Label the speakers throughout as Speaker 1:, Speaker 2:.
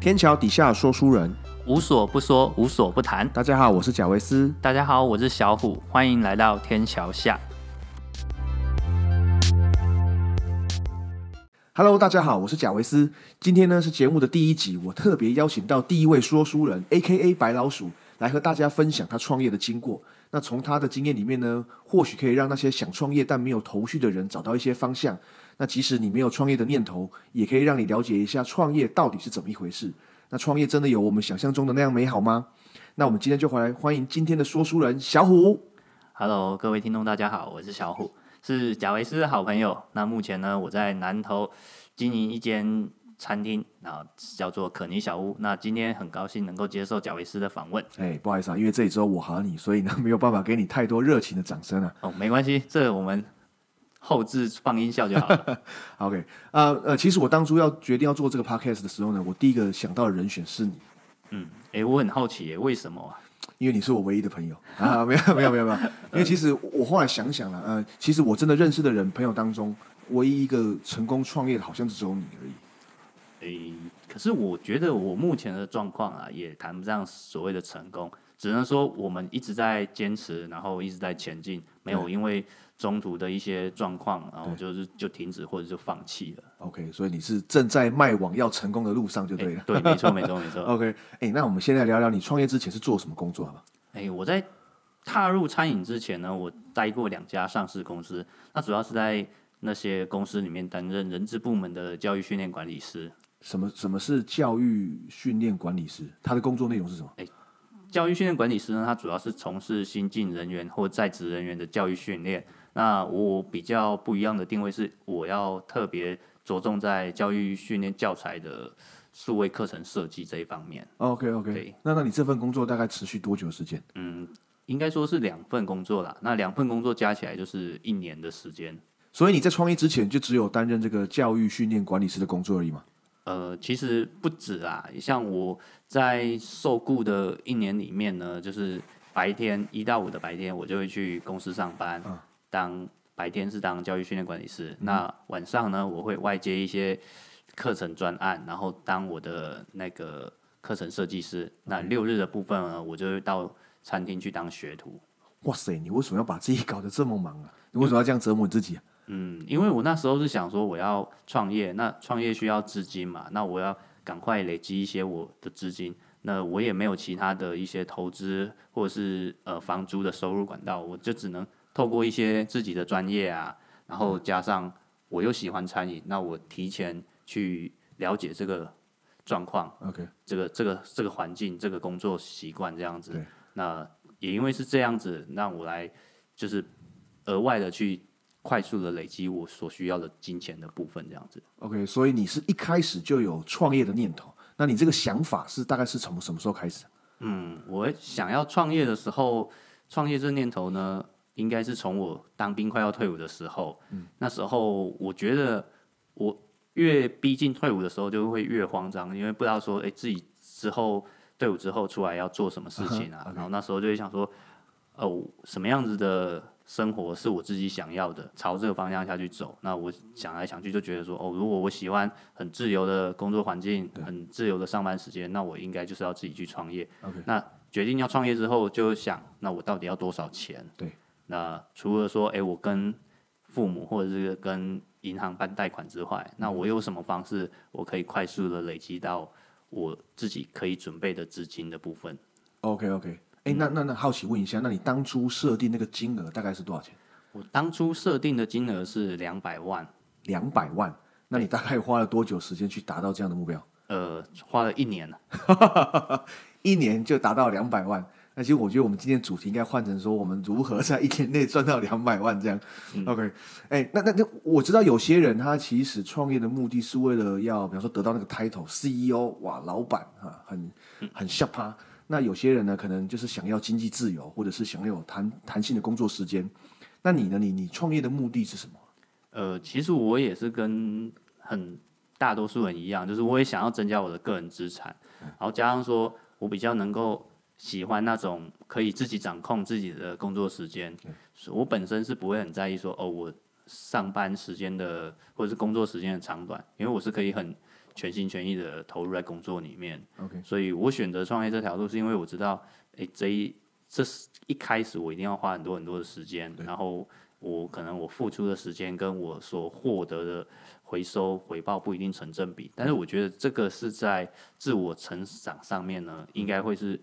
Speaker 1: 天桥底下说书人，
Speaker 2: 无所不说，无所不谈。
Speaker 1: 大家好，我是贾维斯。
Speaker 2: 大家好，我是小虎，欢迎来到天桥下。
Speaker 1: Hello，大家好，我是贾维斯。今天呢是节目的第一集，我特别邀请到第一位说书人，A.K.A 白老鼠，来和大家分享他创业的经过。那从他的经验里面呢，或许可以让那些想创业但没有头绪的人找到一些方向。那即使你没有创业的念头，也可以让你了解一下创业到底是怎么一回事。那创业真的有我们想象中的那样美好吗？那我们今天就回来欢迎今天的说书人小虎。
Speaker 2: Hello，各位听众，大家好，我是小虎，是贾维斯的好朋友。那目前呢，我在南投经营一间餐厅，然后叫做可妮小屋。那今天很高兴能够接受贾维斯的访问。
Speaker 1: 哎、不好意思啊，因为这里只有我和你，所以呢 没有办法给你太多热情的掌声啊。
Speaker 2: 哦，没关系，这我们后置放音效就好了。
Speaker 1: OK，呃呃，其实我当初要决定要做这个 podcast 的时候呢，我第一个想到的人选是你，
Speaker 2: 嗯，诶，我很好奇耶，为什么啊？
Speaker 1: 因为你是我唯一的朋友啊，没有没有没有没有，因为其实我后来想想了，呃，其实我真的认识的人朋友当中，唯一一个成功创业的好像只有你而已。
Speaker 2: 诶，可是我觉得我目前的状况啊，也谈不上所谓的成功，只能说我们一直在坚持，然后一直在前进，没有因为中途的一些状况，然后就是就停止或者就放弃了。
Speaker 1: OK，所以你是正在迈往要成功的路上就对了。
Speaker 2: 哎对，没错，没错，没错。
Speaker 1: OK，哎、那我们现在聊聊你创业之前是做什么工作好吗？
Speaker 2: 诶，哎我在踏入餐饮之前呢，我待过两家上市公司，那主要是在那些公司里面担任人资部门的教育训练管理师。
Speaker 1: 什么什么是教育训练管理师？他的工作内容是什么？
Speaker 2: 教育训练管理师呢，他主要是从事新进人员或在职人员的教育训练。那我比较不一样的定位是，我要特别着重在教育训练教材的数位课程设计这一方面。
Speaker 1: OK OK，
Speaker 2: 对
Speaker 1: 那那你这份工作大概持续多久的时间？
Speaker 2: 应该说是两份工作啦，那两份工作加起来就是一年的时间。
Speaker 1: 所以你在创业之前就只有担任这个教育训练管理师的工作而已嘛？
Speaker 2: 呃，其实不止啊，像我在受雇的一年里面呢，就是白天一到五的白天，我就会去公司上班，当白天是当教育训练管理师，那晚上呢，我会外接一些课程专案，然后当我的那个课程设计师。那六日的部分呢，我就会到餐厅去当学徒。
Speaker 1: 哇塞，你为什么要把自己搞得这么忙啊？你为什么要这样折磨你自己啊、
Speaker 2: 嗯，因为我那时候是想说我要创业，那创业需要资金嘛，那我要赶快累积一些我的资金。那我也没有其他的一些投资或者是呃房租的收入管道，我就只能透过一些自己的专业啊，然后加上我又喜欢餐饮，那我提前去了解这个状况，
Speaker 1: o k
Speaker 2: 这个这个这个环境、这个工作习惯这样子
Speaker 1: 对。
Speaker 2: 那也因为是这样子，让我来就是额外的去快速的累积我所需要的金钱的部分，这样子。
Speaker 1: OK，所以你是一开始就有创业的念头，那你这个想法是大概是从什么时候开始？
Speaker 2: 嗯，我想要创业的时候，创业这念头呢，应该是从我当兵快要退伍的时候。嗯，那时候我觉得我越逼近退伍的时候，就会越慌张，因为不知道说，哎、自己之后退伍之后出来要做什么事情啊。然后那时候就会想说，哦，什么样子的生活是我自己想要的，朝这个方向下去走。那我想来想去，就觉得说，哦，如果我喜欢很自由的工作环境，很自由的上班时间，那我应该就是要自己去创业。那决定要创业之后，就想，那我到底要多少钱？
Speaker 1: 对。
Speaker 2: 那除了说，哎、我跟父母或者是跟银行办贷款之外，那我有什么方式，我可以快速的累积到我自己可以准备的资金的部分？
Speaker 1: OK OK，哎、那那那好奇问一下，那你当初设定那个金额大概是多少钱？
Speaker 2: 我当初设定的金额是两百万，
Speaker 1: 两百万，那你大概花了多久时间去达到这样的目标？
Speaker 2: 呃，花了一年了。
Speaker 1: 一年就达到两百万。那其实我觉得我们今天主题应该换成说，我们如何在一年内赚到两百万这样。OK，哎、
Speaker 2: 嗯
Speaker 1: 那那那我知道有些人他其实创业的目的是为了要，比方说得到那个 title CEO，哇，老板啊，很很吓趴。那有些人呢，可能就是想要经济自由，或者是想要有弹弹性的工作时间。那你呢？你你创业的目的是什么？
Speaker 2: 呃，其实我也是跟很大多数人一样，就是我也想要增加我的个人资产，然后加上说我比较能够喜欢那种可以自己掌控自己的工作时间，所以我本身是不会很在意说哦我上班时间的或者是工作时间的长短，因为我是可以很全心全意的投入在工作里面。
Speaker 1: OK，
Speaker 2: 所以我选择创业这条路，是因为我知道，哎、这一这是一开始我一定要花很多很多的时间，然后我可能我付出的时间跟我所获得的回收回报不一定成正比，但是我觉得这个是在自我成长上面呢，应该会是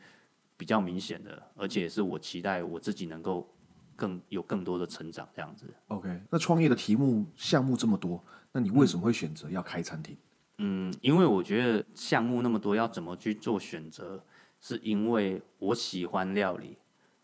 Speaker 2: 比较明显的，而且是我期待我自己能够更有更多的成长这样子。
Speaker 1: OK，那创业的题目项目这么多，那你为什么会选择要开餐厅？
Speaker 2: 嗯，因为我觉得项目那么多，要怎么去做选择，是因为我喜欢料理。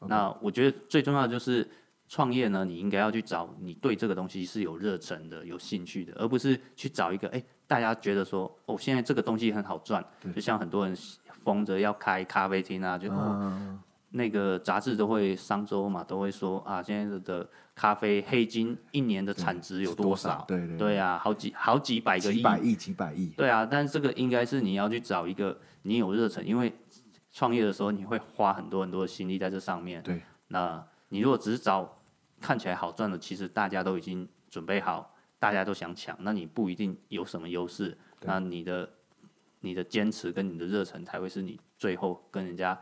Speaker 2: 那我觉得最重要的就是创业呢，你应该要去找你对这个东西是有热忱的、有兴趣的，而不是去找一个哎、诶大家觉得说哦，现在这个东西很好赚，就像很多人疯着要开咖啡厅啊，就、
Speaker 1: 嗯
Speaker 2: 哦、那个杂志都会商周嘛，都会说啊，现在的咖啡黑金一年的产值有
Speaker 1: 是多
Speaker 2: 少？
Speaker 1: 对对
Speaker 2: 对啊，好几好几百个亿
Speaker 1: 几百亿、几百亿，
Speaker 2: 对啊，但是这个应该是你要去找一个你有热忱，因为创业的时候你会花很多很多的心力在这上面。
Speaker 1: 对，
Speaker 2: 那你如果只是找看起来好赚的，其实大家都已经准备好，大家都想抢，那你不一定有什么优势。那你的你的坚持跟你的热忱才会是你最后跟人家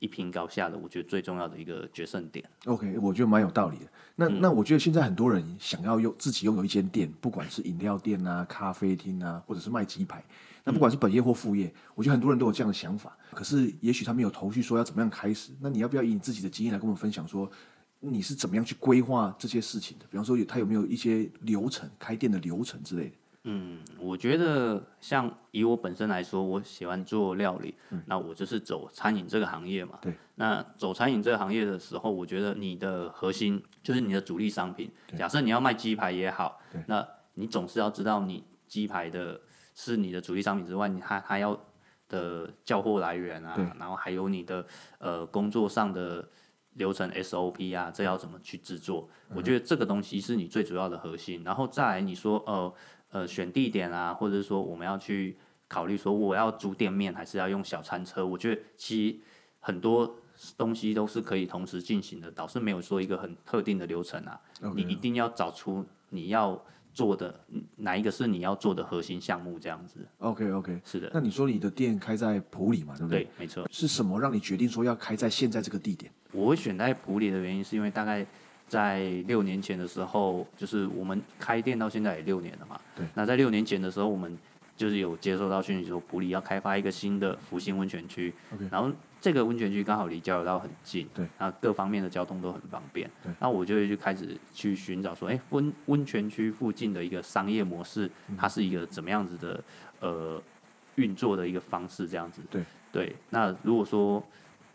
Speaker 2: 一拼高下的，我觉得最重要的一个决胜点。
Speaker 1: OK，我觉得蛮有道理的。那、那我觉得现在很多人想要用自己拥有一间店，不管是饮料店啊、咖啡厅啊，或者是卖鸡排，那不管是本业或副业，我觉得很多人都有这样的想法。可是也许他们有头绪说要怎么样开始。那你要不要以你自己的经验来跟我们分享说？你是怎么样去规划这些事情的？比方说，有他有没有一些流程，开店的流程之类的？
Speaker 2: 嗯，我觉得像以我本身来说，我喜欢做料理，那我就是走餐饮这个行业嘛。
Speaker 1: 嗯对。
Speaker 2: 那走餐饮这个行业的时候，我觉得你的核心就是你的主力商品。假设你要卖鸡排也好，那你总是要知道你鸡排的是你的主力商品之外，你还还要的交货来源啊
Speaker 1: 对，
Speaker 2: 然后还有你的呃工作上的流程 SOP 啊，这要怎么去制作？
Speaker 1: 嗯
Speaker 2: 我觉得这个东西是你最主要的核心。然后再来你说呃呃选地点啊，或者是说我们要去考虑说我要租店面还是要用小餐车，我觉得其实很多。东西都是可以同时进行的，倒是没有说一个很特定的流程啊。你一定要找出你要做的哪一个是你要做的核心项目，这样子。
Speaker 1: OK OK，
Speaker 2: 是的，
Speaker 1: 那你说你的店开在普里嘛，对不对？
Speaker 2: 对，没错。
Speaker 1: 是什么让你决定说要开在现在这个地点？
Speaker 2: 我会选在普里的原因是因为大概在六年前的时候，就是我们开店到现在也六年了嘛。
Speaker 1: 对。
Speaker 2: 那在六年前的时候，我们就是有接收到讯息说普里要开发一个新的福星温泉区
Speaker 1: OK
Speaker 2: 然后这个温泉区刚好离交流道很近，
Speaker 1: 对，
Speaker 2: 那各方面的交通都很方便。
Speaker 1: 对。
Speaker 2: 那我就会去开始去寻找说，哎，温温泉区附近的一个商业模式，
Speaker 1: 嗯
Speaker 2: 它是一个怎么样子的呃运作的一个方式，这样子。
Speaker 1: 对。
Speaker 2: 对，那如果说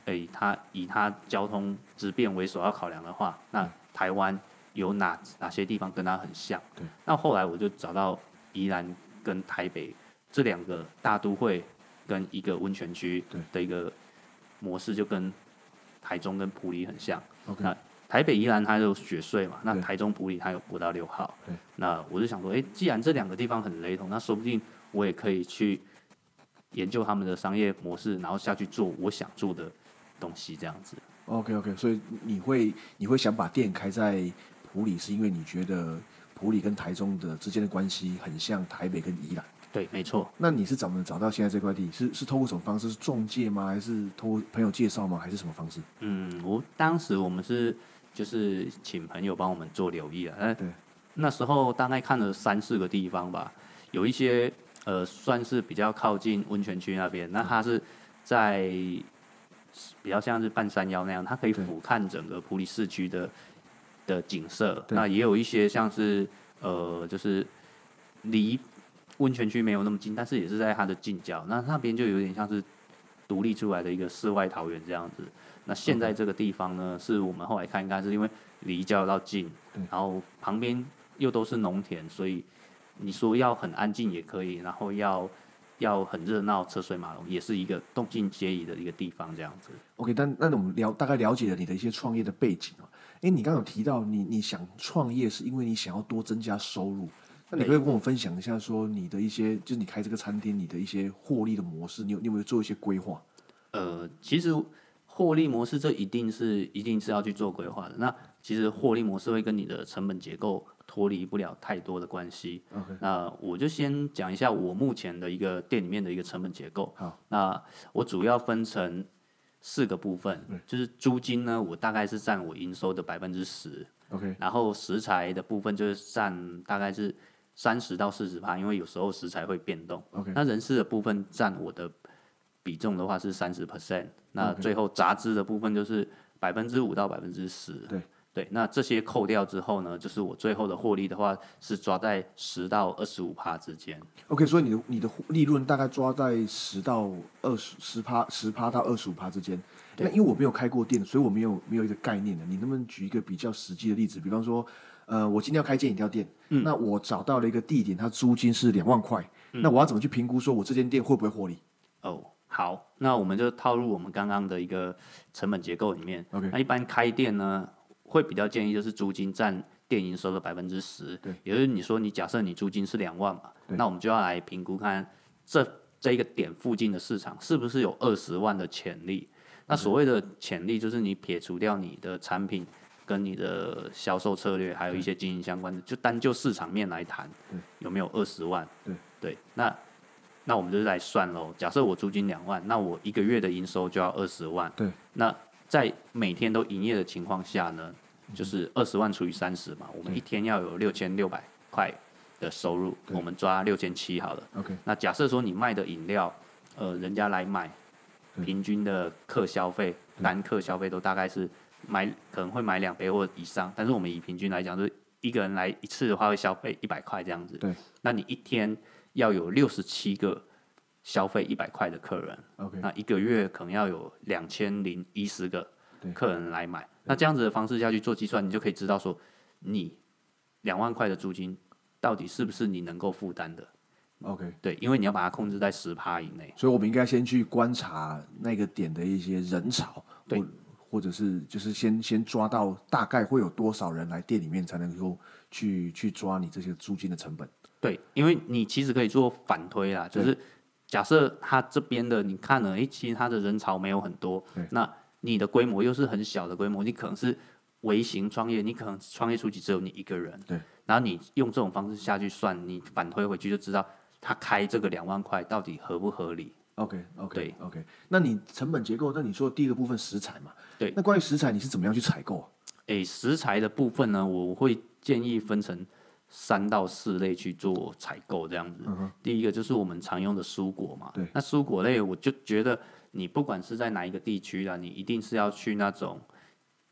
Speaker 2: 诶、它以它交通之便为首要考量的话，那台湾有哪哪些地方跟它很像？
Speaker 1: 对。
Speaker 2: 那后来我就找到宜兰跟台北这两个大都会跟一个温泉区
Speaker 1: 对
Speaker 2: 的一个模式，就跟台中跟埔里很像。
Speaker 1: OK
Speaker 2: 那台北宜兰它有雪隧嘛，那
Speaker 1: 对
Speaker 2: 台中埔里它有国道六号。
Speaker 1: 对。
Speaker 2: 那我就想说，诶、既然这两个地方很雷同，那说不定我也可以去研究他们的商业模式，然后下去做我想做的东西，这样子。
Speaker 1: OK OK，所以你会你会想把店开在普里，是因为你觉得普里跟台中的之间的关系很像台北跟宜兰。
Speaker 2: 对，没错。
Speaker 1: 那你是怎么找到现在这块地？是是通过什么方式？是中介吗？还是通过朋友介绍吗？还是什么方式？
Speaker 2: 嗯，我当时我们是就是请朋友帮我们做留意啊，那
Speaker 1: 对
Speaker 2: 那时候大概看了三四个地方吧，有一些呃算是比较靠近温泉区那边，那它是在比较像是半山腰那样，它可以
Speaker 1: 对
Speaker 2: 俯瞰整个普里市区的的景色。
Speaker 1: 对
Speaker 2: 那也有一些像是呃，就是离温泉区没有那么近，但是也是在它的近郊，那那边就有点像是独立出来的一个世外桃源这样子。那现在这个地方呢，是我们后来看，应该是因为离交流道近
Speaker 1: 对，
Speaker 2: 然后旁边又都是农田，所以你说要很安静也可以，然后要要很热闹、车水马龙，也是一个动静皆宜的一个地方这样子。
Speaker 1: OK，但那我们了大概了解了你的一些创业的背景啊。诶，你刚刚有提到你你想创业是因为你想要多增加收入，那你可不可以跟我分享一下说你的一些就是你开这个餐厅你的一些获利的模式，你有你有没有做一些规划？
Speaker 2: 呃，其实获利模式这一定是一定是要去做规划的。那其实获利模式会跟你的成本结构脱离不了太多的关系。
Speaker 1: OK
Speaker 2: 那我就先讲一下我目前的一个店里面的一个成本结构。
Speaker 1: 好，
Speaker 2: 那我主要分成四个部分，就是租金呢，我大概是占我营收的百分之十，
Speaker 1: OK，
Speaker 2: 然后食材的部分就是占大概是三十到四十趴，因为有时候食材会变动。
Speaker 1: OK
Speaker 2: 那人事的部分占我的比重的话是三十 percent，那最后杂支的部分就是百分之五到百分之十。
Speaker 1: 对
Speaker 2: 对，那这些扣掉之后呢，就是我最后的获利的话是抓在十到二十五趴之间。
Speaker 1: OK，所以你的你的利润大概抓在十到二十十趴十趴到二十五趴之间。那因为我没有开过店，所以我没有没有一个概念的。你能不能举一个比较实际的例子？比方说，呃，我今天要开间饮料店，那我找到了一个地点，它租金是两万块，那我要怎么去评估说我这间店会不会获利
Speaker 2: 哦，好，那我们就套入我们刚刚的一个成本结构里面。
Speaker 1: OK
Speaker 2: 那一般开店呢，会比较建议就是租金占店营收的百分之十。
Speaker 1: 对，
Speaker 2: 也就是你说你假设你租金是两万嘛，那我们就要来评估看这这一个点附近的市场是不是有二十万的潜力。那所谓的潜力，就是你撇除掉你的产品跟你的销售策略，还有一些经营相关的，就单就市场面来谈，有没有二十万？
Speaker 1: 对
Speaker 2: 对，那那我们就是来算喽。假设我租金两万，那我一个月的营收就要二十万。
Speaker 1: 对，
Speaker 2: 那在每天都营业的情况下呢，就是二十万除以三十嘛，我们一天要有六千六百块的收入，我们抓六千七好了。
Speaker 1: ？OK，
Speaker 2: 那假设说你卖的饮料，呃，人家来买，
Speaker 1: 嗯
Speaker 2: 平均的客消费，单客消费都大概是买可能会买两杯或以上，但是我们以平均来讲，就是一个人来一次的话会消费一百块这样子。
Speaker 1: 对，
Speaker 2: 那你一天要有六十七个消费一百块的客人，
Speaker 1: OK，
Speaker 2: 那一个月可能要有两千零一十个
Speaker 1: 对
Speaker 2: 客人来买。那这样子的方式下去做计算，你就可以知道说，你两万块的租金到底是不是你能够负担的。
Speaker 1: OK，
Speaker 2: 对，因为你要把它控制在十趴以内。
Speaker 1: 所以我们应该先去观察那个点的一些人潮，
Speaker 2: 对
Speaker 1: 或，或者是就是先先抓到大概会有多少人来店里面，才能够去去抓你这些租金的成本。
Speaker 2: 对，因为你其实可以做反推啦，就是假设他这边的你看了，诶，其实他的人潮没有很多
Speaker 1: 对，
Speaker 2: 那你的规模又是很小的规模，你可能是微型创业，你可能创业初期只有你一个人，
Speaker 1: 对，
Speaker 2: 然后你用这种方式下去算，你反推回去就知道他开这个两万块到底合不合理。
Speaker 1: OK OK
Speaker 2: 对
Speaker 1: OK，那你成本结构，那你说的第一个部分食材嘛？
Speaker 2: 对
Speaker 1: 那关于食材，你是怎么样去采购啊
Speaker 2: 诶，食材的部分呢，我会建议分成三到四类去做采购，这样子。第一个就是我们常用的蔬果嘛，
Speaker 1: 嗯对
Speaker 2: 那蔬果类，我就觉得你不管是在哪一个地区啦，你一定是要去那种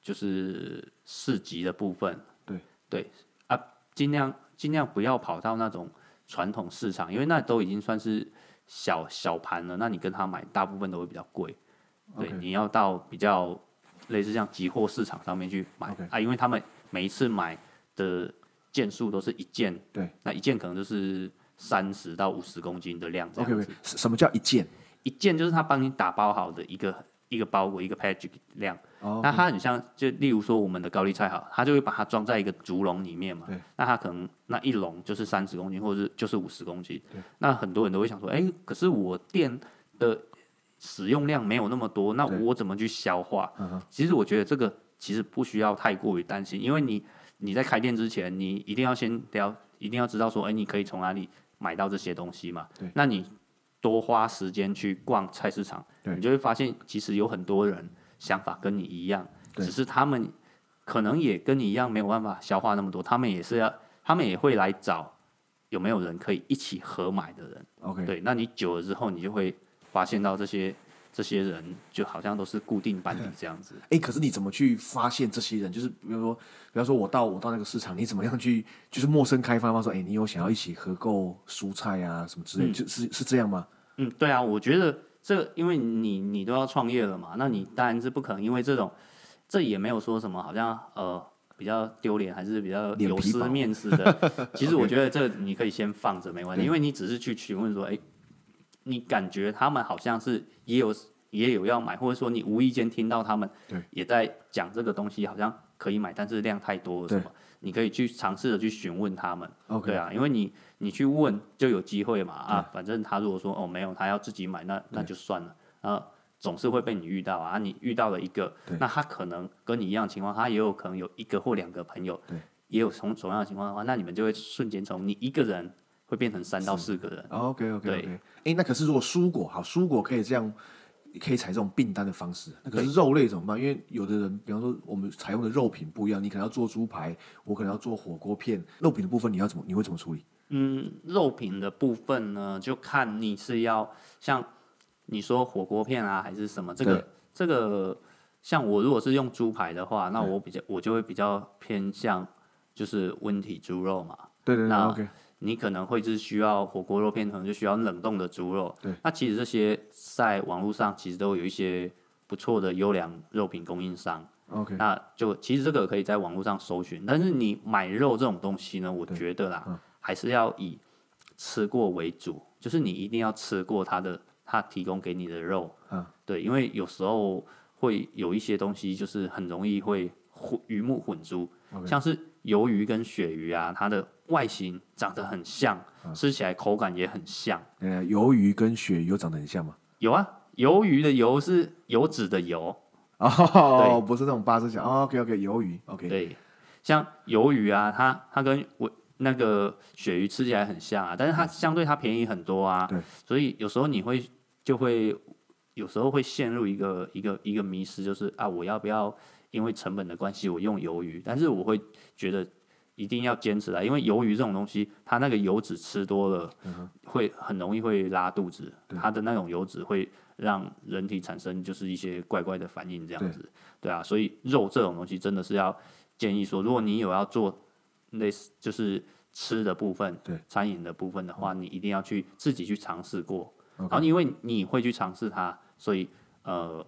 Speaker 2: 就是市集的部分，
Speaker 1: 对
Speaker 2: 对啊，尽量尽量不要跑到那种传统市场，因为那都已经算是小小盘了，那你跟他买大部分都会比较贵。对
Speaker 1: OK
Speaker 2: 你要到比较类似像集货市场上面去买
Speaker 1: OK
Speaker 2: 啊，因为他们每一次买的件数都是一件，
Speaker 1: 对，
Speaker 2: 那一件可能就是三十到五十公斤的量这样
Speaker 1: ？OK
Speaker 2: 子
Speaker 1: OK，什么叫一件？
Speaker 2: 一件就是他帮你打包好的一个一个包裹一个 package 量。
Speaker 1: 哦
Speaker 2: 那它很像，就例如说我们的高丽菜好，它就会把它装在一个竹笼里面嘛
Speaker 1: 对。
Speaker 2: 那它可能那一笼就是三十公斤，或者是就是五十公斤。那很多人都会想说，哎、可是我店的使用量没有那么多，那
Speaker 1: 对嗯
Speaker 2: 我怎么去消化？其实我觉得这个其实不需要太过于担心，因为你你在开店之前，你一定要先了，一定要知道说，哎、你可以从哪里买到这些东西嘛。
Speaker 1: 对
Speaker 2: 那你多花时间去逛菜市场，
Speaker 1: 对
Speaker 2: 你就会发现，其实有很多人想法跟你一样，
Speaker 1: 对
Speaker 2: 只是他们可能也跟你一样没有办法消化那么多，他们也是要，他们也会来找有没有人可以一起合买的人。
Speaker 1: OK
Speaker 2: 对，那你久了之后，你就会发现到这些这些人就好像都是固定班底这样子。
Speaker 1: 哎，可是你怎么去发现这些人？就是比如说，比方说我到我到那个市场，你怎么样去就是陌生开发吗？说，哎，你有想要一起合购蔬菜啊什么之类，就是是这样吗？
Speaker 2: 嗯，对啊，我觉得这因为你你都要创业了嘛，那你当然是不可能因为这种，这也没有说什么好像呃比较丢脸还是比较
Speaker 1: 脸
Speaker 2: 有
Speaker 1: 皮
Speaker 2: 失
Speaker 1: 薄
Speaker 2: 面子 的。其实我觉得这你可以先放着没关系，
Speaker 1: 对
Speaker 2: 因为你只是去询问说，哎，你感觉他们好像是也有也有要买，或者说你无意间听到他们
Speaker 1: 对
Speaker 2: 也在讲这个东西，好像可以买，但是量太多了什
Speaker 1: 对
Speaker 2: 么，你可以去尝试着去询问他们。
Speaker 1: OK
Speaker 2: 对啊，因为你你去问就有机会嘛啊，反正他如果说哦没有，他要自己买，那那就算了啊，总是会被你遇到啊。你遇到了一个，那他可能跟你一样情况，他也有可能有一个或两个朋友
Speaker 1: 对，
Speaker 2: 也有同同样的情况的话，那你们就会瞬间从你一个人会变成三到四个人。
Speaker 1: OK OK
Speaker 2: 对
Speaker 1: OK，哎、诶那可是如果蔬果好，蔬果可以这样，可以采这种并单的方式。那可是肉类怎么办？因为有的人，比方说我们采用的肉品不一样，你可能要做猪排，我可能要做火锅片。肉品的部分你要怎么，你会怎么处理？
Speaker 2: 嗯，肉品的部分呢，就看你是要像你说火锅片啊，还是什么？这
Speaker 1: 对
Speaker 2: 个这个，像我如果是用猪排的话，那我比较我就会比较偏向就是温体猪肉嘛。
Speaker 1: 对对对
Speaker 2: 那
Speaker 1: ，OK，
Speaker 2: 你可能会是需要火锅肉片，可能就需要冷冻的猪肉。
Speaker 1: 对，
Speaker 2: 那其实这些在网络上其实都有一些不错的优良肉品供应商。
Speaker 1: OK，
Speaker 2: 那就其实这个可以在网络上搜寻，但是你买肉这种东西呢，我觉得啦，
Speaker 1: 嗯
Speaker 2: 还是要以吃过为主，就是你一定要吃过它的它提供给你的肉，
Speaker 1: 嗯，
Speaker 2: 对，因为有时候会有一些东西就是很容易会混鱼目混珠
Speaker 1: OK
Speaker 2: 像是鱿鱼跟鳕鱼啊，它的外形长得很像，吃起来口感也很像。
Speaker 1: 呃，鱿鱼跟鳕鱼有长得很像吗？
Speaker 2: 有啊，鱿鱼的油是油脂的油，
Speaker 1: 哦，不是那种八只脚。哦、OK OK，鱿鱼 OK，
Speaker 2: 对，像鱿鱼啊，它它跟我那个鳕鱼吃起来很像啊，但是它相对它便宜很多啊，
Speaker 1: 嗯对，
Speaker 2: 所以有时候你会就会有时候会陷入一个一个一个迷失，就是啊，我要不要因为成本的关系我用鱿鱼？但是我会觉得一定要坚持啊，因为鱿鱼这种东西，它那个油脂吃多了，
Speaker 1: 嗯
Speaker 2: 会很容易会拉肚子，它的那种油脂会让人体产生就是一些怪怪的反应这样子，对啊，所以肉这种东西真的是要建议说，如果你有要做类似就是吃的部分，
Speaker 1: 对嗯
Speaker 2: 餐饮的部分的话，你一定要去自己去尝试过。
Speaker 1: OK
Speaker 2: 然后因为你会去尝试它，所以呃，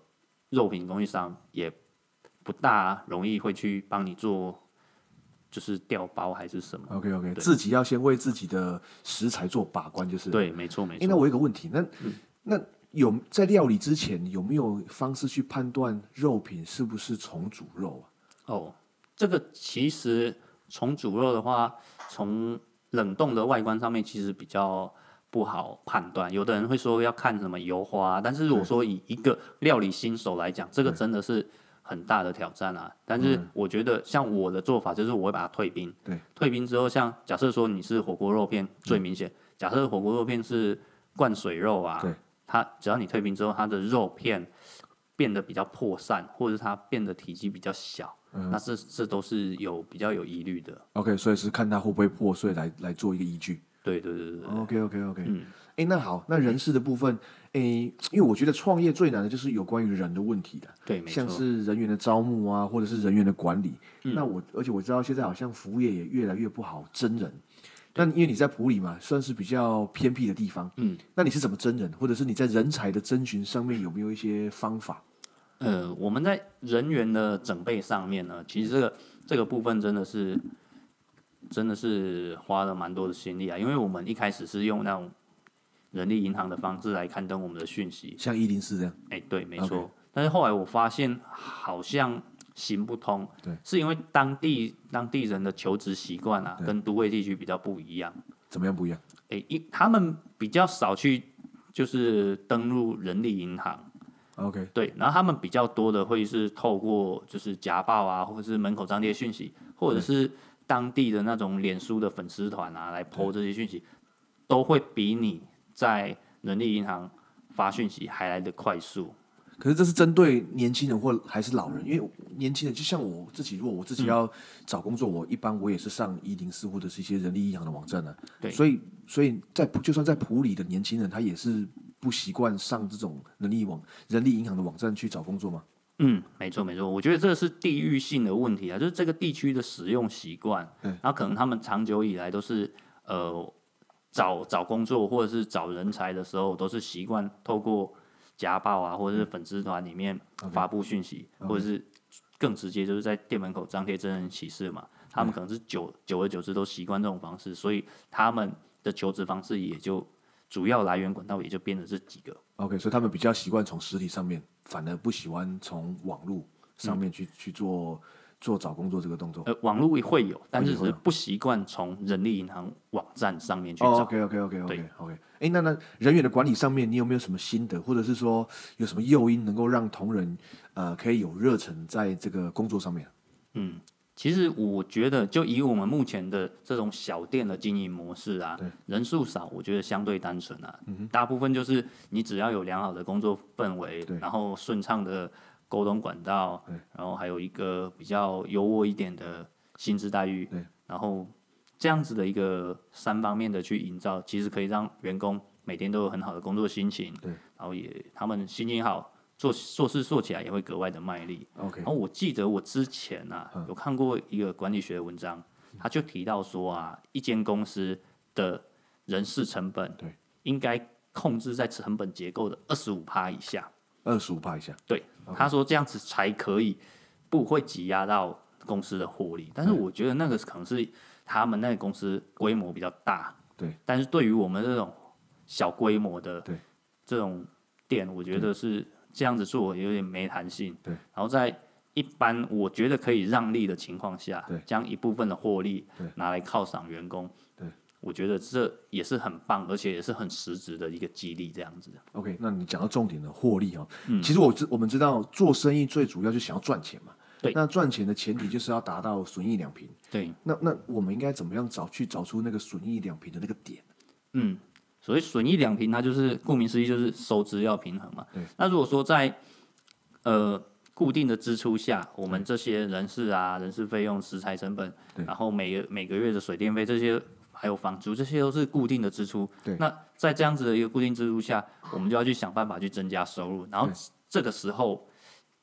Speaker 2: 肉品供应商也不大容易会去帮你做，就是调包还是什么。
Speaker 1: OK OK，
Speaker 2: 对
Speaker 1: 自己要先为自己的食材做把关，就是。
Speaker 2: 对，没错没
Speaker 1: 诶那
Speaker 2: 错。嗯
Speaker 1: 我有一个问题，那、那有在料理之前有没有方式去判断肉品是不是重组肉啊？
Speaker 2: 哦，这个其实从煮肉的话，从冷冻的外观上面其实比较不好判断。有的人会说要看什么油花，但是我说以一个料理新手来讲，这个真的是很大的挑战
Speaker 1: 嗯
Speaker 2: 啊。但是我觉得像我的做法就是我会把它退冰，
Speaker 1: 对，
Speaker 2: 退冰之后，像假设说你是火锅肉片最明显，假设火锅肉片是灌水肉啊，
Speaker 1: 嗯对，
Speaker 2: 它只要你退冰之后，它的肉片变得比较破散，或者是它变得体积比较小，
Speaker 1: 嗯
Speaker 2: 那这这都是有比较有疑虑的。
Speaker 1: OK，所以是看它会不会破碎来来做一个依据。
Speaker 2: 对对对对对，
Speaker 1: OK OK OK，嗯，哎、那好，那人事的部分，哎、因为我觉得创业最难的就是有关于人的问题的，
Speaker 2: 对，没错嗯
Speaker 1: 像，是人员的招募啊，或者是人员的管理。那我而且我知道现在好像服务业也越来越不好真人。那因为你在普里嘛，算是比较偏僻的地方，嗯，那你是怎么真人，或者是你在人才的征询上面有没有一些方法？
Speaker 2: 呃，我们在人员的整备上面呢，其实这个这个部分真的是真的是花了蛮多的心力啊，因为我们一开始是用那种人力银行的方式来刊登我们的讯息，
Speaker 1: 像一零四这样，
Speaker 2: 哎、对，没错。但是后来我发现好像行不通，对，是因为当地当地人的求职习惯啊，跟都会地区比较不一样。
Speaker 1: 怎么样不一样？
Speaker 2: 哎、因他们比较少去就是登录人力银行，
Speaker 1: OK，
Speaker 2: 对，然后他们比较多的会是透过就是家暴啊，或者是门口张贴讯息，或者是当地的那种脸书的粉丝团啊来 PO 这些讯息，都会比你在人力银行发讯息还来得快速。
Speaker 1: 可是这是针对年轻人或还是老人，因为年轻人就像我自己，如果我自己要找工作，我一般我也是上一零四或者是一些人力银行的网站呢、
Speaker 2: 对
Speaker 1: 所以所以在普就算在普里的年轻人，他也是不习惯上这种人力网、人力银行的网站去找工作嘛。
Speaker 2: 嗯，没错没错，我觉得这是地域性的问题啊，就是这个地区的使用习惯，然后可能他们长久以来都是呃找找工作或者是找人才的时候，都是习惯透过家暴啊，或者是粉丝团里面发布讯息或者是更直接就是在店门口张贴真人启事嘛，他们可能是久久而久之都习惯这种方式，所以他们的求职方式也就主要来源管道也就变成这几个。
Speaker 1: OK，所以他们比较习惯从实体上面，反而不喜欢从网络上面去、去做做找工作这个动作。
Speaker 2: 呃，网络也会有，但是只
Speaker 1: 会
Speaker 2: 是
Speaker 1: 有
Speaker 2: 不习惯从人力银行网站上面去
Speaker 1: 哦
Speaker 2: 找。
Speaker 1: ，OK OK OK OK
Speaker 2: 对
Speaker 1: OK，哎，那那人员的管理上面，你有没有什么心得，或者是说有什么诱因能够让同仁呃可以有热忱在这个工作上面？
Speaker 2: 嗯，其实我觉得，就以我们目前的这种小店的经营模式啊，人数少，我觉得相对单纯啊。大部分就是你只要有良好的工作氛围，然后顺畅的沟通管道，然后还有一个比较优渥一点的薪资待遇，然后这样子的一个三方面的去营造，其实可以让员工每天都有很好的工作心情，然后也他们心情好，做做事做起来也会格外的卖力。
Speaker 1: OK，嗯
Speaker 2: 然后我记得我之前啊，有看过一个管理学的文章，他就提到说啊，一间公司的人事成本
Speaker 1: 对
Speaker 2: 应该控制在成本结构的二十五趴以下。
Speaker 1: 二十五趴以下，
Speaker 2: 对，他说这样子才可以不会挤压到公司的获利。但是我觉得那个可能是他们那个公司规模比较大，
Speaker 1: 对。
Speaker 2: 但是对于我们这种小规模的
Speaker 1: 对
Speaker 2: 这种店，我觉得是这样子做有点没弹性。
Speaker 1: 对。
Speaker 2: 然后在一般我觉得可以让利的情况下
Speaker 1: 对，
Speaker 2: 将一部分的获利
Speaker 1: 对
Speaker 2: 拿来犒赏员工。
Speaker 1: 对。
Speaker 2: 我觉得这也是很棒，而且也是很实质的一个激励，这样子。
Speaker 1: OK，那你讲到重点的获利哦，
Speaker 2: 嗯
Speaker 1: 其实我知我们知道做生意最主要就想要赚钱嘛，
Speaker 2: 对
Speaker 1: 那赚钱的前提就是要达到损益两平。
Speaker 2: 对，
Speaker 1: 那那我们应该怎么样找去找出那个损益两平的那个点？
Speaker 2: 嗯，所谓损益两平，它就是顾名思义就是收支要平衡嘛。那如果说在呃固定的支出下，我们这些人事啊、人事费用、食材成本，然后每个每个月的水电费这些，还有房租，这些都是固定的支出。
Speaker 1: 对
Speaker 2: 那在这样子的一个固定支出下，我们就要去想办法去增加收入。然后这个时候，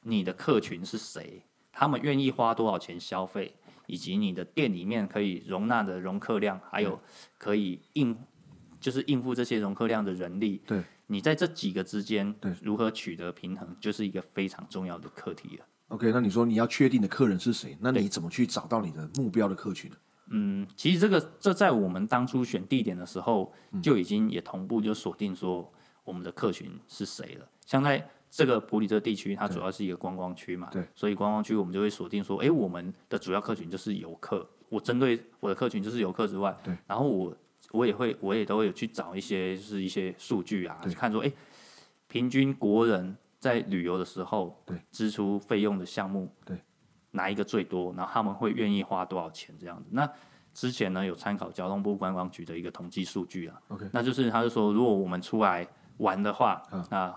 Speaker 2: 你的客群是谁？他们愿意花多少钱消费，以及你的店里面可以容纳的容客量，还有可以应就是应付这些容客量的人力，
Speaker 1: 对，
Speaker 2: 你在这几个之间
Speaker 1: 对
Speaker 2: 如何取得平衡，就是一个非常重要的课题了。
Speaker 1: OK，那你说你要确定的客人是谁？那你怎么去找到你的目标的客群呢？
Speaker 2: 嗯，其实这个这在我们当初选地点的时候，
Speaker 1: 嗯
Speaker 2: 就已经也同步就锁定说我们的客群是谁了。像在这个普里这地区，它主要是一个观光区嘛，
Speaker 1: 对，
Speaker 2: 所以观光区我们就会锁定说，诶，我们的主要客群就是游客。我针对我的客群就是游客之外，
Speaker 1: 对，
Speaker 2: 然后我我也会我也都会有去找一些就是一些数据啊，看说，诶，平均国人在旅游的时候，
Speaker 1: 对，
Speaker 2: 支出费用的项目，
Speaker 1: 对，
Speaker 2: 哪一个最多，然后他们会愿意花多少钱这样子。那之前呢有参考交通部观光局的一个统计数据啊
Speaker 1: OK
Speaker 2: 那就是他就说，如果我们出来玩的话，那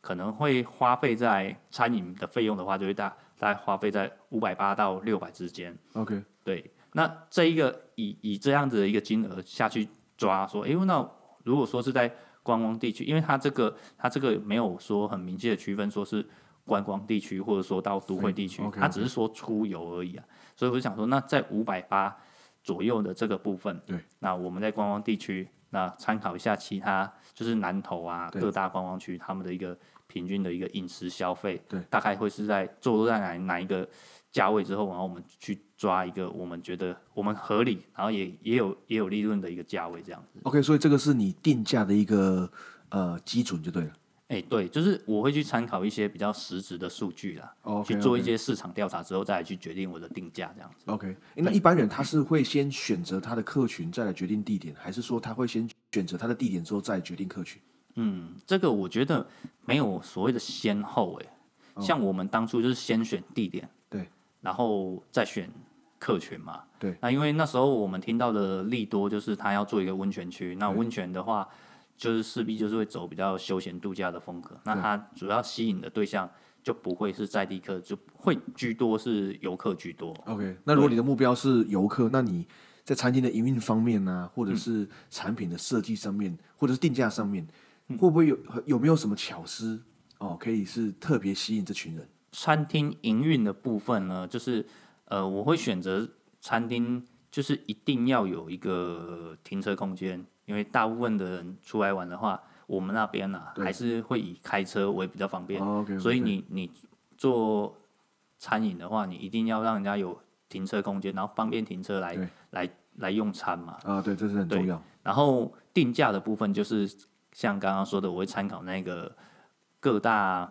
Speaker 2: 可能会花费在餐饮的费用的话，就会大大概花费在五百八到六百之间。
Speaker 1: OK，
Speaker 2: 对，那这一个以以这样子的一个金额下去抓，说，诶，那如果说是在观光地区，因为它这个它这个没有说很明确的区分，说是观光地区或者说到都会地区，
Speaker 1: OK，OK
Speaker 2: 它只是说出游而已啊。所以我就想说，那在五百八左右的这个部分，
Speaker 1: 对，
Speaker 2: 那我们在观光地区，那参考一下其他就是南投啊
Speaker 1: 对
Speaker 2: 各大观光区他们的一个平均的一个饮食消费，
Speaker 1: 对，
Speaker 2: 大概会是在坐落在哪哪一个价位之后，然后我们去抓一个我们觉得我们合理，然后也也有也有利润的一个价位这样子。
Speaker 1: OK，所以这个是你定价的一个呃基准就对了。
Speaker 2: 哎、对，就是我会去参考一些比较实质的数据啦
Speaker 1: 哦 OK，
Speaker 2: 去做一些市场调查之后，再来去决定我的定价这样子。
Speaker 1: OK，诶那一般人他是会先选择他的客群，再来决定地点，还是说他会先选择他的地点之后再决定客群？
Speaker 2: 嗯，这个我觉得没有所谓的先后、欸，
Speaker 1: 哦
Speaker 2: 像我们当初就是先选地点，
Speaker 1: 对，
Speaker 2: 然后再选客群嘛。
Speaker 1: 对，
Speaker 2: 那因为那时候我们听到的利多就是他要做一个温泉区，那温泉的话就是势必就是会走比较休闲度假的风格，那它主要吸引的对象就不会是在地客，就会居多是游客居多。
Speaker 1: OK，那如果你的目标是游客，那你在餐厅的营运方面呢、或者是
Speaker 2: 嗯
Speaker 1: 产品的设计上面，或者是定价上面，
Speaker 2: 嗯
Speaker 1: 会不会有有没有什么巧思哦，可以是特别吸引这群人？
Speaker 2: 餐厅营运的部分呢，就是呃，我会选择餐厅，就是一定要有一个停车空间，因为大部分的人出来玩的话，我们那边呢、啊、还是会以开车为比较方便，
Speaker 1: 哦，OK，
Speaker 2: 所以你你做餐饮的话，你一定要让人家有停车空间，然后方便停
Speaker 1: 对
Speaker 2: 车来来来用餐嘛。
Speaker 1: 啊，对，这是很重要。
Speaker 2: 然后定价的部分就是像刚刚说的，我会参考那个各大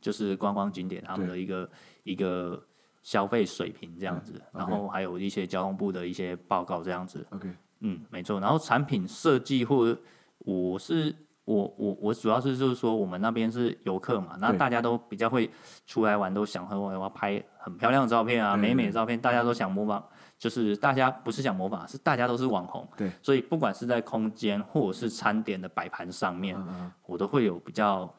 Speaker 2: 就是观光景点他们的一个一个消费水平这样子，
Speaker 1: 嗯，OK
Speaker 2: 然后还有一些交通部的一些报告这样子。
Speaker 1: OK，
Speaker 2: 嗯，没错。然后产品设计或我是我我我主要是就是说，我们那边是游客嘛，那
Speaker 1: 对
Speaker 2: 大家都比较会出来玩，都想说我要拍很漂亮的照片啊，
Speaker 1: 对
Speaker 2: 美美的照片，大家都想模仿，就是大家不是想模仿，是大家都是网红，
Speaker 1: 对，
Speaker 2: 所以不管是在空间或者是餐点的摆盘上面，
Speaker 1: 嗯
Speaker 2: 我都会有比较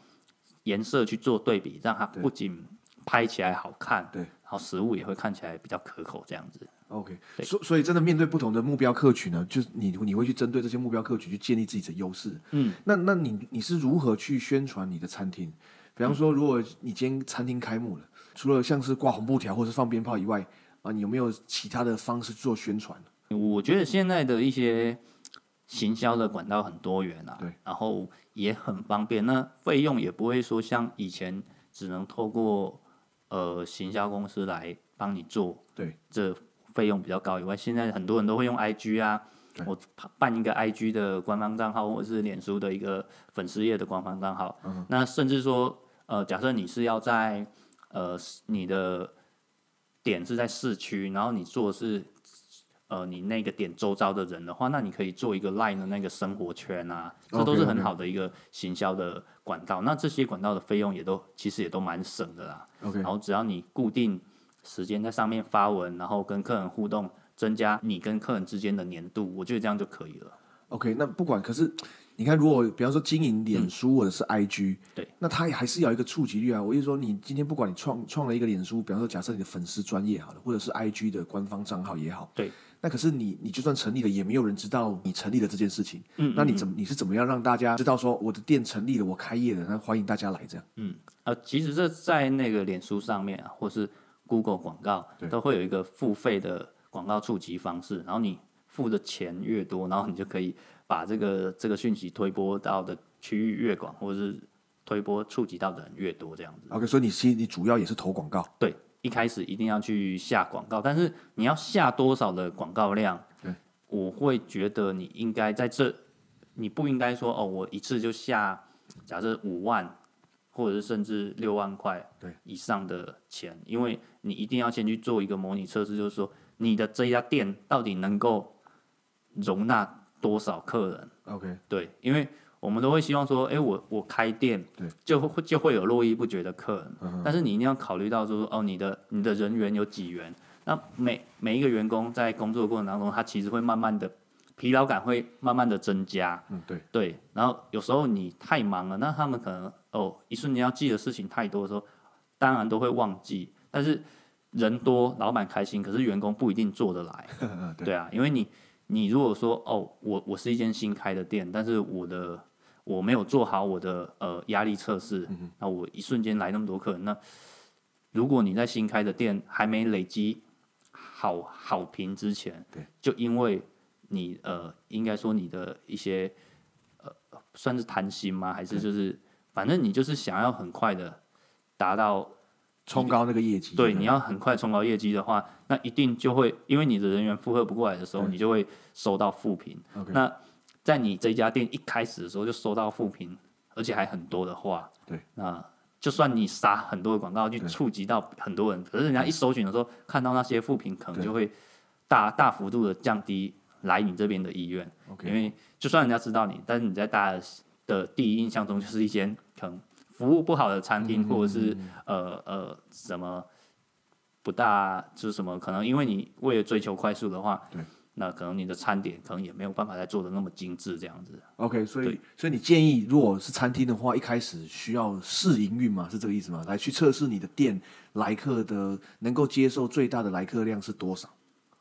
Speaker 2: 颜色去做对比，让它
Speaker 1: 对
Speaker 2: 不仅拍起来好看，
Speaker 1: 对
Speaker 2: 然后食物也会看起来比较可口这样子。
Speaker 1: OK，
Speaker 2: 对
Speaker 1: 所所以真的面对不同的目标客群呢，就是你你会去针对这些目标客群去建立自己的优势。
Speaker 2: 嗯，
Speaker 1: 那那你你是如何去宣传你的餐厅？比方说，如果你今天餐厅开幕了，除了像是挂红布条或是放鞭炮以外，啊，你有没有其他的方式做宣传？
Speaker 2: 我觉得现在的一些行销的管道很多元啊
Speaker 1: 对，
Speaker 2: 然后也很方便，那费用也不会说像以前只能透过呃行销公司来帮你做，
Speaker 1: 对，
Speaker 2: 这费用比较高以外，现在很多人都会用 IG 啊。我办一个 IG 的官方账号，或者是脸书的一个粉丝页的官方账号。
Speaker 1: 嗯
Speaker 2: 那甚至说，呃，假设你是要在呃你的点是在市区，然后你做的是呃你那个点周遭的人的话，那你可以做一个 Line 的那个生活圈啊，这都是
Speaker 1: OK，OK
Speaker 2: 很好的一个行销的管道。那这些管道的费用也都其实也都蛮省的啦。
Speaker 1: OK
Speaker 2: 然后只要你固定时间在上面发文，然后跟客人互动，增加你跟客人之间的粘度，我觉得这样就可以了。
Speaker 1: OK，那不管，可是你看，如果比方说经营脸书或者是 IG，、
Speaker 2: 对，
Speaker 1: 那它也还是要有一个触及率啊。我就说，你今天不管你创创了一个脸书，比方说假设你的粉丝专业好了，或者是 IG 的官方账号也好，
Speaker 2: 对，
Speaker 1: 那可是你你就算成立了，也没有人知道你成立了这件事情。嗯那你怎么你是怎么样让大家知道说我的店成立了，我开业了，那欢迎大家来这样？
Speaker 2: 呃，其实这在那个脸书上面啊，或是 Google 广告
Speaker 1: 对，
Speaker 2: 都会有一个付费的广告触及方式，然后你付的钱越多，然后你就可以把这个这个讯息推播到的区域越广，或者是推播触及到的人越多，这样子。
Speaker 1: OK，所以你其实你主要也是投广告。
Speaker 2: 对，一开始一定要去下广告，但是你要下多少的广告量？
Speaker 1: 对，
Speaker 2: 我会觉得你应该在这，你不应该说哦，我一次就下，假设五万，或者是甚至六万块
Speaker 1: 对
Speaker 2: 以上的钱，因为你一定要先去做一个模拟测试，就是说你的这家店到底能够容纳多少客人。
Speaker 1: OK，
Speaker 2: 对，因为我们都会希望说，哎，我我开店，
Speaker 1: 对，
Speaker 2: 就会就会有络绎不绝的客人，但是你一定要考虑到说，哦，你的你的人员有几员，那每每一个员工在工作的过程当中，他其实会慢慢的疲劳感会慢慢的增加，
Speaker 1: 嗯，对，
Speaker 2: 对，然后有时候你太忙了，那他们可能哦，一瞬间要记的事情太多的时候，当然都会忘记，但是人多，老板开心，可是员工不一定做得来。
Speaker 1: 嗯， 对，
Speaker 2: 对啊，因为你你如果说哦，我我是一间新开的店，但是我的我没有做好我的呃压力测试，
Speaker 1: 嗯
Speaker 2: 那我一瞬间来那么多客人，那如果你在新开的店还没累积好好评之前，
Speaker 1: 对，
Speaker 2: 就因为你呃，应该说你的一些呃算是贪心吗？还是就是反正你就是想要很快的达到
Speaker 1: 冲高那个业绩。
Speaker 2: 对，
Speaker 1: 不
Speaker 2: 你要很快冲高业绩的话，那一定就会因为你的人员负荷不过来的时候，你就会收到负评。
Speaker 1: 嗯 OK
Speaker 2: 那在你这家店一开始的时候就收到负评，而且还很多的话，
Speaker 1: 对，
Speaker 2: 那就算你撒很多的广告去触及到很多人，可是人家一搜寻的时候看到那些负评，可能
Speaker 1: 对
Speaker 2: 就会大大幅度的降低来你这边的意愿，因
Speaker 1: OK，
Speaker 2: 为就算人家知道你，但是你在大家的第一印象中就是一间可能服务不好的
Speaker 1: 嗯
Speaker 2: 餐厅，或者是呃呃什么不大，就是什么可能因为你为了追求快速的话，
Speaker 1: 对，
Speaker 2: 那可能你的餐点可能也没有办法再做的那么精致这样子。
Speaker 1: OK，所以
Speaker 2: 对
Speaker 1: 所以你建议，如果是餐厅的话，一开始需要试营运嘛，是这个意思吗？来去测试你的店来客的能够接受最大的来客量是多少？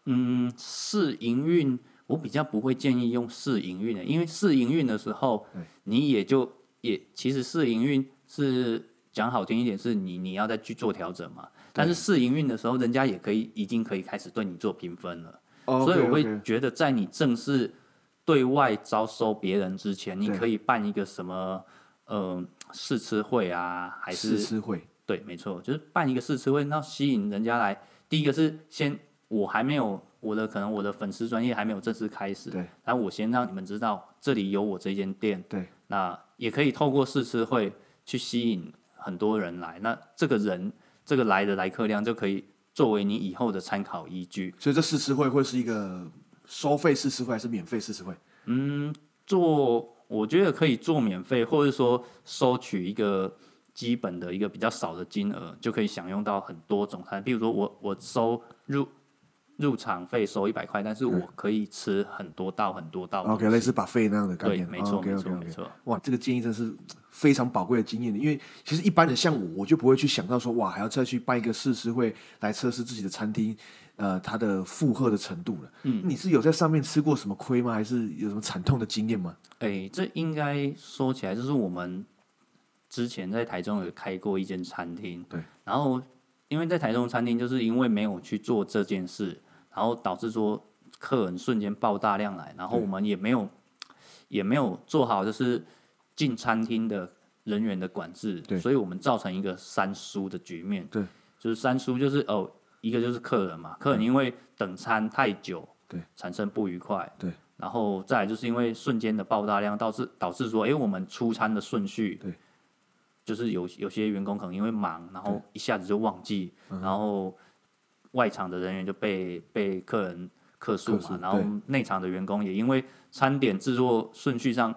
Speaker 2: 嗯，试营运我比较不会建议用试营运的，因为试营运的时候
Speaker 1: 对，
Speaker 2: 你也就也其实试营运是讲好听一点，是你你要再去做调整嘛。但是试营运的时候，人家也可以已经可以开始对你做评分了。
Speaker 1: 哦
Speaker 2: 所以我
Speaker 1: OK，OK
Speaker 2: 会觉得，在你正式对外招收别人之前，你
Speaker 1: 对
Speaker 2: 可以办一个什么，呃，试吃会啊，还
Speaker 1: 试
Speaker 2: 是
Speaker 1: 吃会
Speaker 2: 对，没错，就是办一个试吃会，那吸引人家来。第一个是先，我还没有我的可能我的粉丝专业还没有正式开始，
Speaker 1: 对，
Speaker 2: 然后我先让你们知道这里有我这间店，
Speaker 1: 对，
Speaker 2: 那也可以透过试吃会去吸引很多人来，那这个人这个来的来客量就可以作为你以后的参考依据。
Speaker 1: 所以这试吃会会是一个收费试吃会还是免费试吃会？
Speaker 2: 做我觉得可以做免费，或者说收取一个基本的一个比较少的金额，就可以享用到很多种餐。比如说我我收入入场费收一百块，但是我可以吃很多道很多道东西。
Speaker 1: OK，类似把费那样的概
Speaker 2: 对，
Speaker 1: 念。哦
Speaker 2: 没错，
Speaker 1: OK
Speaker 2: 没
Speaker 1: OK
Speaker 2: 错，没
Speaker 1: OK。
Speaker 2: 错。
Speaker 1: 哇，这个建议真是非常宝贵的经验的，因为其实一般人像我，我就不会去想到说，哇，还要再去办一个试吃会来测试自己的餐厅，呃，它的负荷的程度了。嗯，你是有在上面吃过什么亏吗？还是有什么惨痛的经验吗？
Speaker 2: 哎、这应该说起来，就是我们之前在台中有开过一间餐厅，
Speaker 1: 对，
Speaker 2: 然后因为在台中餐厅，就是因为没有去做这件事，然后导致说客人瞬间爆大量来，然后我们也没有也没有做好就是进餐厅的人员的管制，
Speaker 1: 对
Speaker 2: 所以我们造成一个三输的局面，
Speaker 1: 对，嗯
Speaker 2: 就是三输就是哦，一个就是客人嘛，客人因为等餐太久，
Speaker 1: 对，
Speaker 2: 产生不愉快，
Speaker 1: 对。
Speaker 2: 然后再来就是因为瞬间的爆大量，导致导致说，哎，我们出餐的顺序，
Speaker 1: 对，
Speaker 2: 就是有有些员工可能因为忙，然后一下子就忘记，
Speaker 1: 嗯
Speaker 2: 然后外场的人员就被被客人客诉
Speaker 1: 客诉
Speaker 2: 嘛，然后内场的员工也因为餐点制作顺序上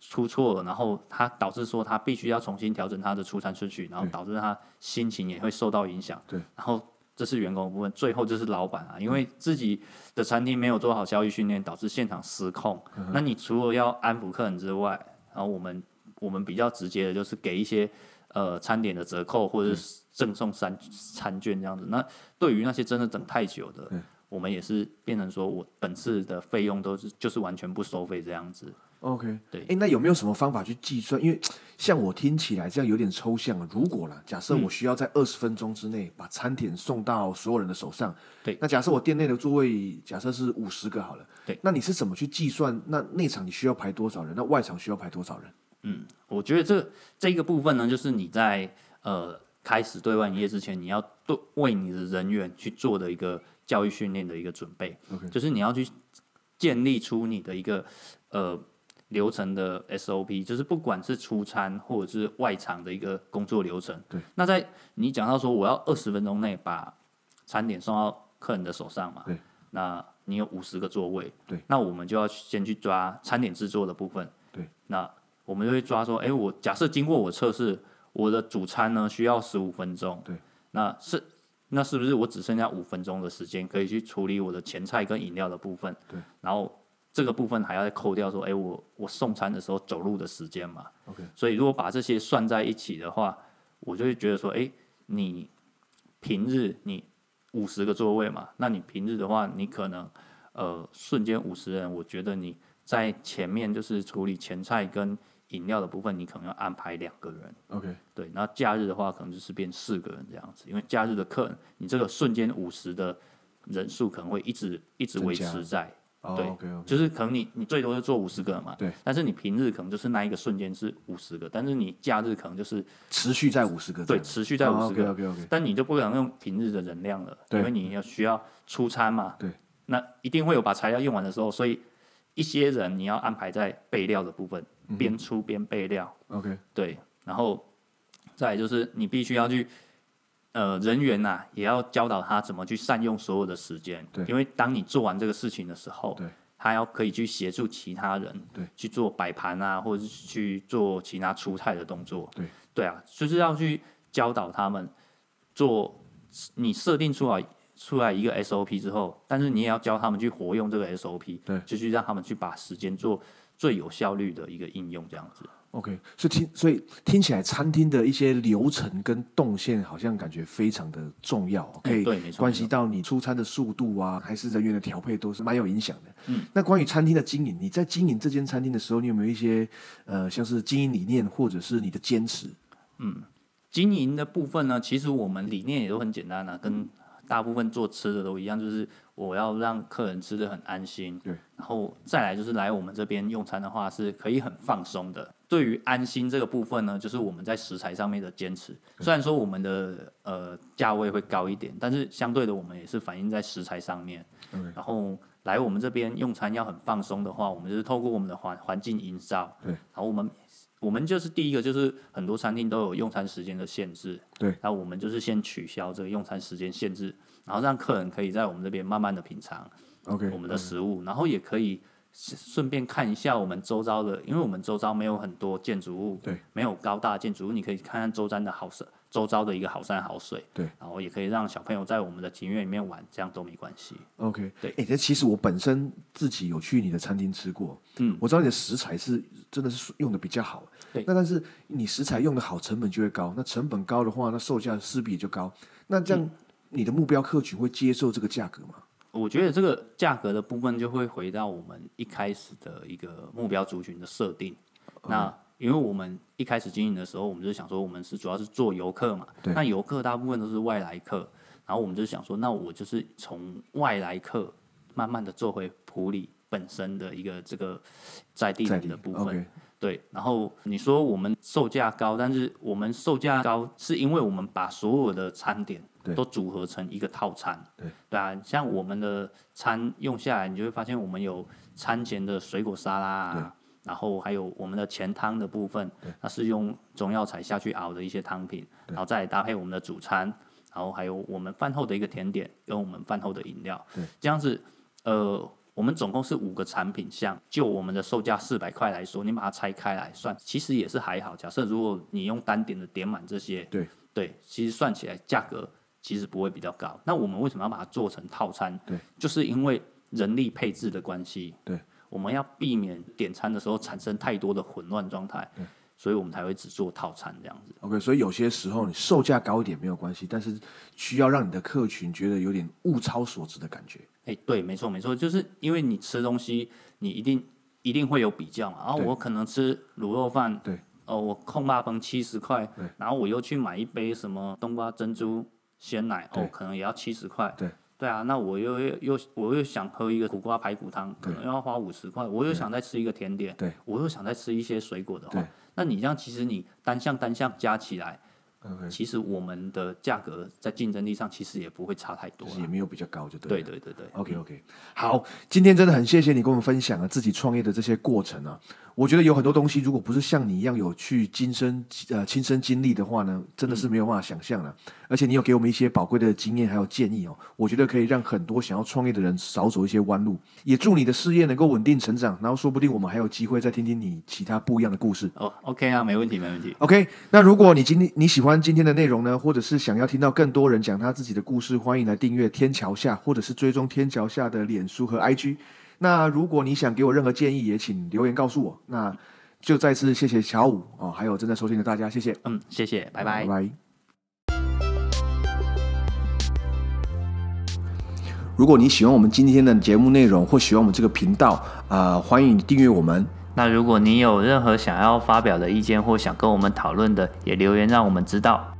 Speaker 2: 出错了，然后他导致说他必须要重新调整他的出餐顺序，然后导致他心情也会受到影响。
Speaker 1: 对，
Speaker 2: 然后这是员工的部分，最后就是老板啊，因为自己的餐厅没有做好交易训练，导致现场失控。那你除了要安抚客人之外，然后我们我们比较直接的就是给一些呃餐点的折扣或者是赠送餐餐券这样子。那对于那些真的等太久的
Speaker 1: 对，
Speaker 2: 我们也是变成说我本次的费用都是就是完全不收费这样子。
Speaker 1: OK，
Speaker 2: 对
Speaker 1: 哎，那有没有什么方法去计算？因为像我听起来这样有点抽象啊。如果啦，假设
Speaker 2: 嗯
Speaker 1: 我需要在二十分钟之内把餐点送到所有人的手上，
Speaker 2: 对
Speaker 1: 那假设我店内的座位假设是五十个好了，
Speaker 2: 对，
Speaker 1: 那你是怎么去计算？那内场你需要排多少人？那外场需要排多少人？
Speaker 2: 我觉得这这一个部分呢，就是你在呃开始对外营业之前，你要对为你的人员去做的一个教育训练的一个准备
Speaker 1: OK
Speaker 2: 就是你要去建立出你的一个呃流程的 SOP，就是不管是出餐或者是外场的一个工作流程。
Speaker 1: 对，
Speaker 2: 那在你讲到说我要二十分钟内把餐点送到客人的手上嘛，
Speaker 1: 对，
Speaker 2: 那你有五十个座位，
Speaker 1: 对，
Speaker 2: 那我们就要先去抓餐点制作的部分，
Speaker 1: 对，
Speaker 2: 那我们就会抓说，哎、我假设经过我测试，我的主餐呢需要十五分钟，
Speaker 1: 对，
Speaker 2: 那是那是不是我只剩下五分钟的时间可以去处理我的前菜跟饮料的部分？
Speaker 1: 对，
Speaker 2: 然后这个部分还要再扣掉说，哎、我我送餐的时候走路的时间嘛
Speaker 1: OK
Speaker 2: 所以如果把这些算在一起的话，我就会觉得说，哎、你平日你五十个座位嘛，那你平日的话，你可能呃瞬间五十人，我觉得你在前面就是处理前菜跟饮料的部分，你可能要安排两个人。
Speaker 1: OK，
Speaker 2: 对，然后假日的话，可能就是变四个人这样子，因为假日的客人，你这个瞬间五十的人数可能会一直一直
Speaker 1: 增
Speaker 2: 维
Speaker 1: 加
Speaker 2: 持在，
Speaker 1: 哦
Speaker 2: 对
Speaker 1: OK OK，
Speaker 2: 就是可能你你最多就做五十个嘛，
Speaker 1: 对，
Speaker 2: 但是你平日可能就是那一个瞬间是五十个，但是你假日可能就是
Speaker 1: 持续在五十个这
Speaker 2: 对
Speaker 1: 样，啊
Speaker 2: 持续在五十个，
Speaker 1: OK OK，
Speaker 2: 但你就不可能用平日的人量了，
Speaker 1: 哦对
Speaker 2: 因为你要需要出餐嘛，
Speaker 1: 对，
Speaker 2: 那一定会有把材料用完的时候，所以一些人你要安排在备料的部分，
Speaker 1: 嗯
Speaker 2: 边出边备料，
Speaker 1: OK
Speaker 2: 对，然后再来就是你必须要去，呃，人员呐、也要教导他怎么去善用所有的时间，
Speaker 1: 对
Speaker 2: 因为当你做完这个事情的时候，
Speaker 1: 对，
Speaker 2: 他要可以去协助其他人，
Speaker 1: 对，
Speaker 2: 去做摆盘啊，或者是去做其他出菜的动作，
Speaker 1: 对，
Speaker 2: 对啊，就是要去教导他们做，你设定出来。出来一个 SOP 之后，但是你也要教他们去活用这个 SOP，
Speaker 1: 对
Speaker 2: 就去让他们去把时间做最有效率的一个应用，这样子。
Speaker 1: OK，所以听所以听起来餐厅的一些流程跟动线好像感觉非常的重要，可以
Speaker 2: 哎对没错
Speaker 1: 关系到你出餐的速度啊，还是人员的调配都是蛮有影响的。嗯，那关于餐厅的经营，你在经营这间餐厅的时候，你有没有一些呃像是经营理念或者是你的坚持？
Speaker 2: 经营的部分呢，其实我们理念也都很简单啊，跟大部分做吃的都一样，就是我要让客人吃的很安心，
Speaker 1: 对，
Speaker 2: 然后再来就是来我们这边用餐的话是可以很放松的。对于安心这个部分呢，就是我们在食材上面的坚持，虽然说我们的呃价位会高一点，但是相对的我们也是反映在食材上面。
Speaker 1: OK
Speaker 2: 然后来我们这边用餐要很放松的话，我们就是透过我们的环环境营造，
Speaker 1: 对，
Speaker 2: 然后我们我们就是第一个就是很多餐厅都有用餐时间的限制，
Speaker 1: 对
Speaker 2: 然后我们就是先取消这个用餐时间限制，然后让客人可以在我们这边慢慢的品尝
Speaker 1: OK，嗯
Speaker 2: 我们的食物，然后也可以顺便看一下我们周遭的，因为我们周遭没有很多建筑物，
Speaker 1: 对，
Speaker 2: 没有高大的建筑物，你可以看看周遭的好山，周遭的一个好山好水，
Speaker 1: 对，
Speaker 2: 然后也可以让小朋友在我们的庭院里面玩，这样都没关系。
Speaker 1: OK，
Speaker 2: 对
Speaker 1: 哎、这其实我本身自己有去你的餐厅吃过，
Speaker 2: 嗯，
Speaker 1: 我知道你的食材是真的是用的比较好，
Speaker 2: 对
Speaker 1: 那但是你食材用的好，成本就会高，那成本高的话，那售价势必也就高。那这
Speaker 2: 嗯
Speaker 1: 样，你的目标客群会接受这个价格吗？
Speaker 2: 我觉得这个价格的部分就会回到我们一开始的一个目标族群的设定。
Speaker 1: 嗯
Speaker 2: 那因为我们一开始经营的时候，我们就想说，我们是主要是做游客嘛，
Speaker 1: 对
Speaker 2: 那游客大部分都是外来客，然后我们就想说，那我就是从外来客慢慢的做回普里本身的一个这个在地
Speaker 1: 在
Speaker 2: 人
Speaker 1: 地
Speaker 2: 的部分。
Speaker 1: ，OK，
Speaker 2: 对，然后你说我们售价高，但是我们售价高是因为我们把所有的餐点
Speaker 1: 对
Speaker 2: 都组合成一个套餐。
Speaker 1: 对，
Speaker 2: 啊，像我们的餐用下来，你就会发现我们有餐前的水果沙拉、啊，然后还有我们的前汤的部分，它是用中药材下去熬的一些汤品，然后再来搭配我们的主餐，然后还有我们饭后的一个甜点跟我们饭后的饮料。对，这样子，呃，我们总共是五个产品项，就我们的售价四百块来说，你把它拆开来算，其实也是还好。假设如果你用单点的点满这些，
Speaker 1: 对
Speaker 2: 对，其实算起来价格其实不会比较高。那我们为什么要把它做成套餐？
Speaker 1: 对，
Speaker 2: 就是因为人力配置的关系。
Speaker 1: 对，
Speaker 2: 我们要避免点餐的时候产生太多的混乱状态，所以我们才会只做套餐这样子。
Speaker 1: OK，所以有些时候你售价高一点没有关系，但是需要让你的客群觉得有点物超所值的感觉。
Speaker 2: 哎、对，没错没错，就是因为你吃东西，你一定一定会有比较嘛。然后
Speaker 1: 对
Speaker 2: 我可能吃卤肉饭，
Speaker 1: 对，
Speaker 2: 哦，我控霸崩七十块
Speaker 1: 对，
Speaker 2: 然后我又去买一杯什么冬瓜珍珠鲜奶，
Speaker 1: 对
Speaker 2: 哦，可能也要七十块。
Speaker 1: 对，
Speaker 2: 对啊，那我又又又我又想喝一个苦瓜排骨汤，可
Speaker 1: 对
Speaker 2: 能要花五十块。我又想再吃一个甜点，
Speaker 1: 对，
Speaker 2: 我又想再吃一些水果的
Speaker 1: 对
Speaker 2: 话，那你这样其实你单项单项加起来，
Speaker 1: OK，
Speaker 2: 其实我们的价格在竞争力上其实也不会差太多
Speaker 1: 就
Speaker 2: 啦。
Speaker 1: 是也没有比较高，就对了。
Speaker 2: 对对对对。
Speaker 1: OK OK，好，今天真的很谢谢你跟我们分享了自己创业的这些过程啊。我觉得有很多东西，如果不是像你一样有去亲身呃亲身经历的话呢，真的是没有办法想象的、而且你有给我们一些宝贵的经验还有建议哦，我觉得可以让很多想要创业的人少走一些弯路。也祝你的事业能够稳定成长，然后说不定我们还有机会再听听你其他不一样的故事。
Speaker 2: 哦，OK 啊，没问题，没问题。
Speaker 1: OK，那如果你今天你喜欢今天的内容呢，或者是想要听到更多人讲他自己的故事，欢迎来订阅天桥下，或者是追踪天桥下的脸书和 IG。那如果你想给我任何建议，也请留言告诉我。那就再次谢谢乔五哦，还有正在收听的大家，谢谢，
Speaker 2: 嗯，谢谢，拜拜
Speaker 1: 拜。拜。如果你喜欢我们今天的节目内容，或喜欢我们这个频道，啊、欢迎你订阅我们。
Speaker 2: 那如果你有任何想要发表的意见或想跟我们讨论的，也留言让我们知道。